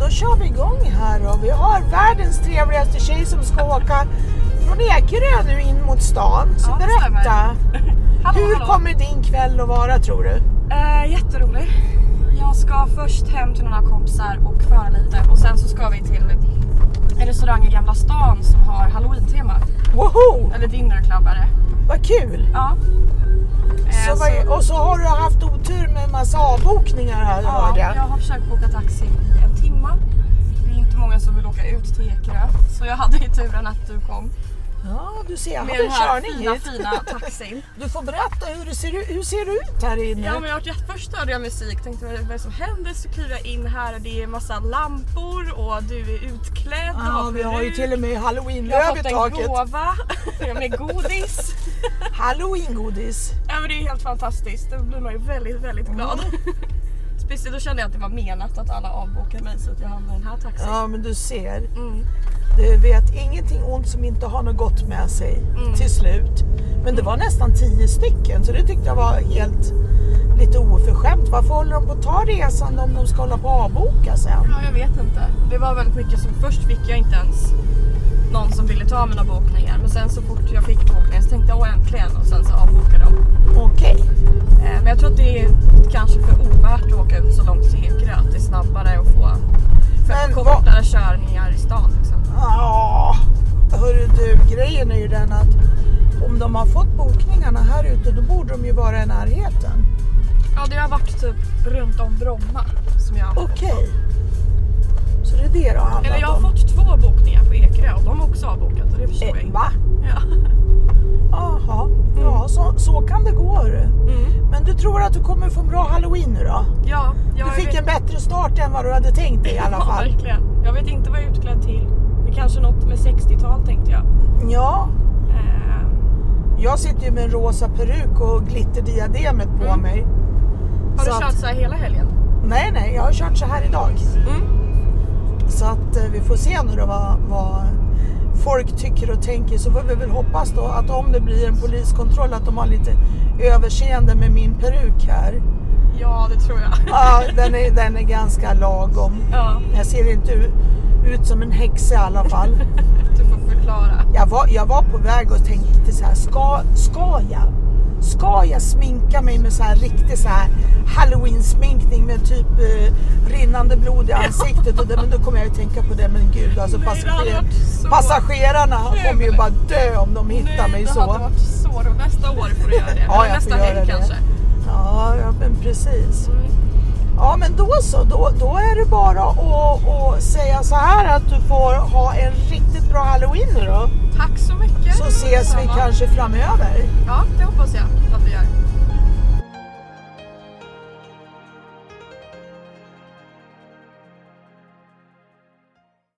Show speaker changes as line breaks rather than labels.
då kör vi igång här och vi har världens trevligaste tjej som ska åka från Ekerö nu in mot stan. Så
Ja, det
berätta,
Hallå,
hur
hallå.
kommer din kväll att vara tror du?
Eh, jätterolig. Jag ska först hem till några kompisar och föra lite och sen så ska vi till en restaurang i Gamla stan som har halloween-tema.
Woho,
Eller dinner club är det.
vad kul!
Ja. Eh,
Så vad, och så har du haft otur med en massa avbokningar här
ja,
hörde jag.
jag har försökt boka taxi i en timma. Det är inte många som vill åka ut till Ekerö. Så jag hade ju turen att du kom
Ja, du ser, jag
med
hade en
den här
körning
fina,
hit.
fina taxin.
Du får berätta hur det ser, ut- hur ser det ut här inne.
Ja, men jag, vart- först hörde jag musik, tänkte vad är det som händer? Så kliver jag in här och det är massa lampor och du är utklädd. och
Ja, vi har ju
peruk.
till och med
Jag har
halloweenlöv i
fått en
taket.
gåva med godis.
Halloweengodis.
Ja, men det är helt fantastiskt, då blir man ju väldigt, väldigt
Mm.
glad. Speciellt då kände jag att det var menat att alla avbokade mig så att jag hamnade i den här taxin.
Ja, men du ser.
Mm.
Du vet ingenting ont som inte har något gott med sig
Mm.
till slut. Men det var nästan tio stycken så det tyckte jag var helt lite oförskämt. Varför håller de på att ta resan om de ska hålla på att avboka sen?
Ja, jag vet inte. Det var väldigt mycket som först fick jag inte ens någon som ville ta mina bokningar. Men sen så fort jag fick bokningar så tänkte jag åh äntligen och sen så avbokade de.
Okej.
Eh, Men jag tror att det är kanske för ovärt att åka ut så långt till Ekerö. Att det är snabbare att få
Men
för kortare körningar i stan. Liksom.
Ja, hörru du, grejen är ju den att om de har fått bokningarna här ute då borde de ju vara i närheten.
Ja, det har varit typ runt om Bromma som jag har fått.
Okej. Så det är det det har handlat
Eller jag har
om.
fått två bokningar på Ekerö och de har också avbokat och det förstår jag
Eh,
inte.
va?
Ja.
Jaha, ja så, så kan det gå hörru.
Mm.
Men du tror att du kommer få en bra halloween nu då?
Ja, jag
Du fick
vet-
en bättre start än vad du hade tänkt dig i alla
Ja,
fall.
verkligen. Jag vet inte vad jag är utklädd till. Det är kanske något med 60-tal tänkte jag.
Ja,
Eh,
jag sitter ju med en rosa peruk och glitterdiademet på
Mm.
mig.
har
Så
du
att-
kört så här hela helgen?
Nej, nej, jag har kört så här idag.
Mm.
Så att eh, vi får se nu då vad, vad folk tycker och tänker. Så får vi väl hoppas då att om det blir en poliskontroll att de har lite överseende med min peruk här.
Ja, det tror jag.
Ja, den är, den är ganska lagom.
ja,
Jag ser inte u- ut som en häxa i alla fall.
du får förklara.
Jag var, jag var på väg och tänkte så här, ska, ska jag? Ska jag sminka mig med så här riktig så här halloween-sminkning med typ eh, rinnande blod i ansiktet? Och det, men då kommer jag ju tänka på det, men gud alltså
Nej, det hade
passager,
varit så
passagerarna kommer ju
kul.
bara dö om de hittar
Nej,
mig
det
så.
hade varit så roligt. Nästa år får du göra det.
Ja,
Eller
jag
nästa
får göra
helg
det.
kanske.
Ja, ja men precis.
Mm.
Ja men då så, då, då är det bara att, att säga så här att du får ha en riktigt bra halloween nu då.
Tack så mycket.
Så ses vi
Detsamma.
kanske framöver.
Ja, det hoppas jag att vi gör.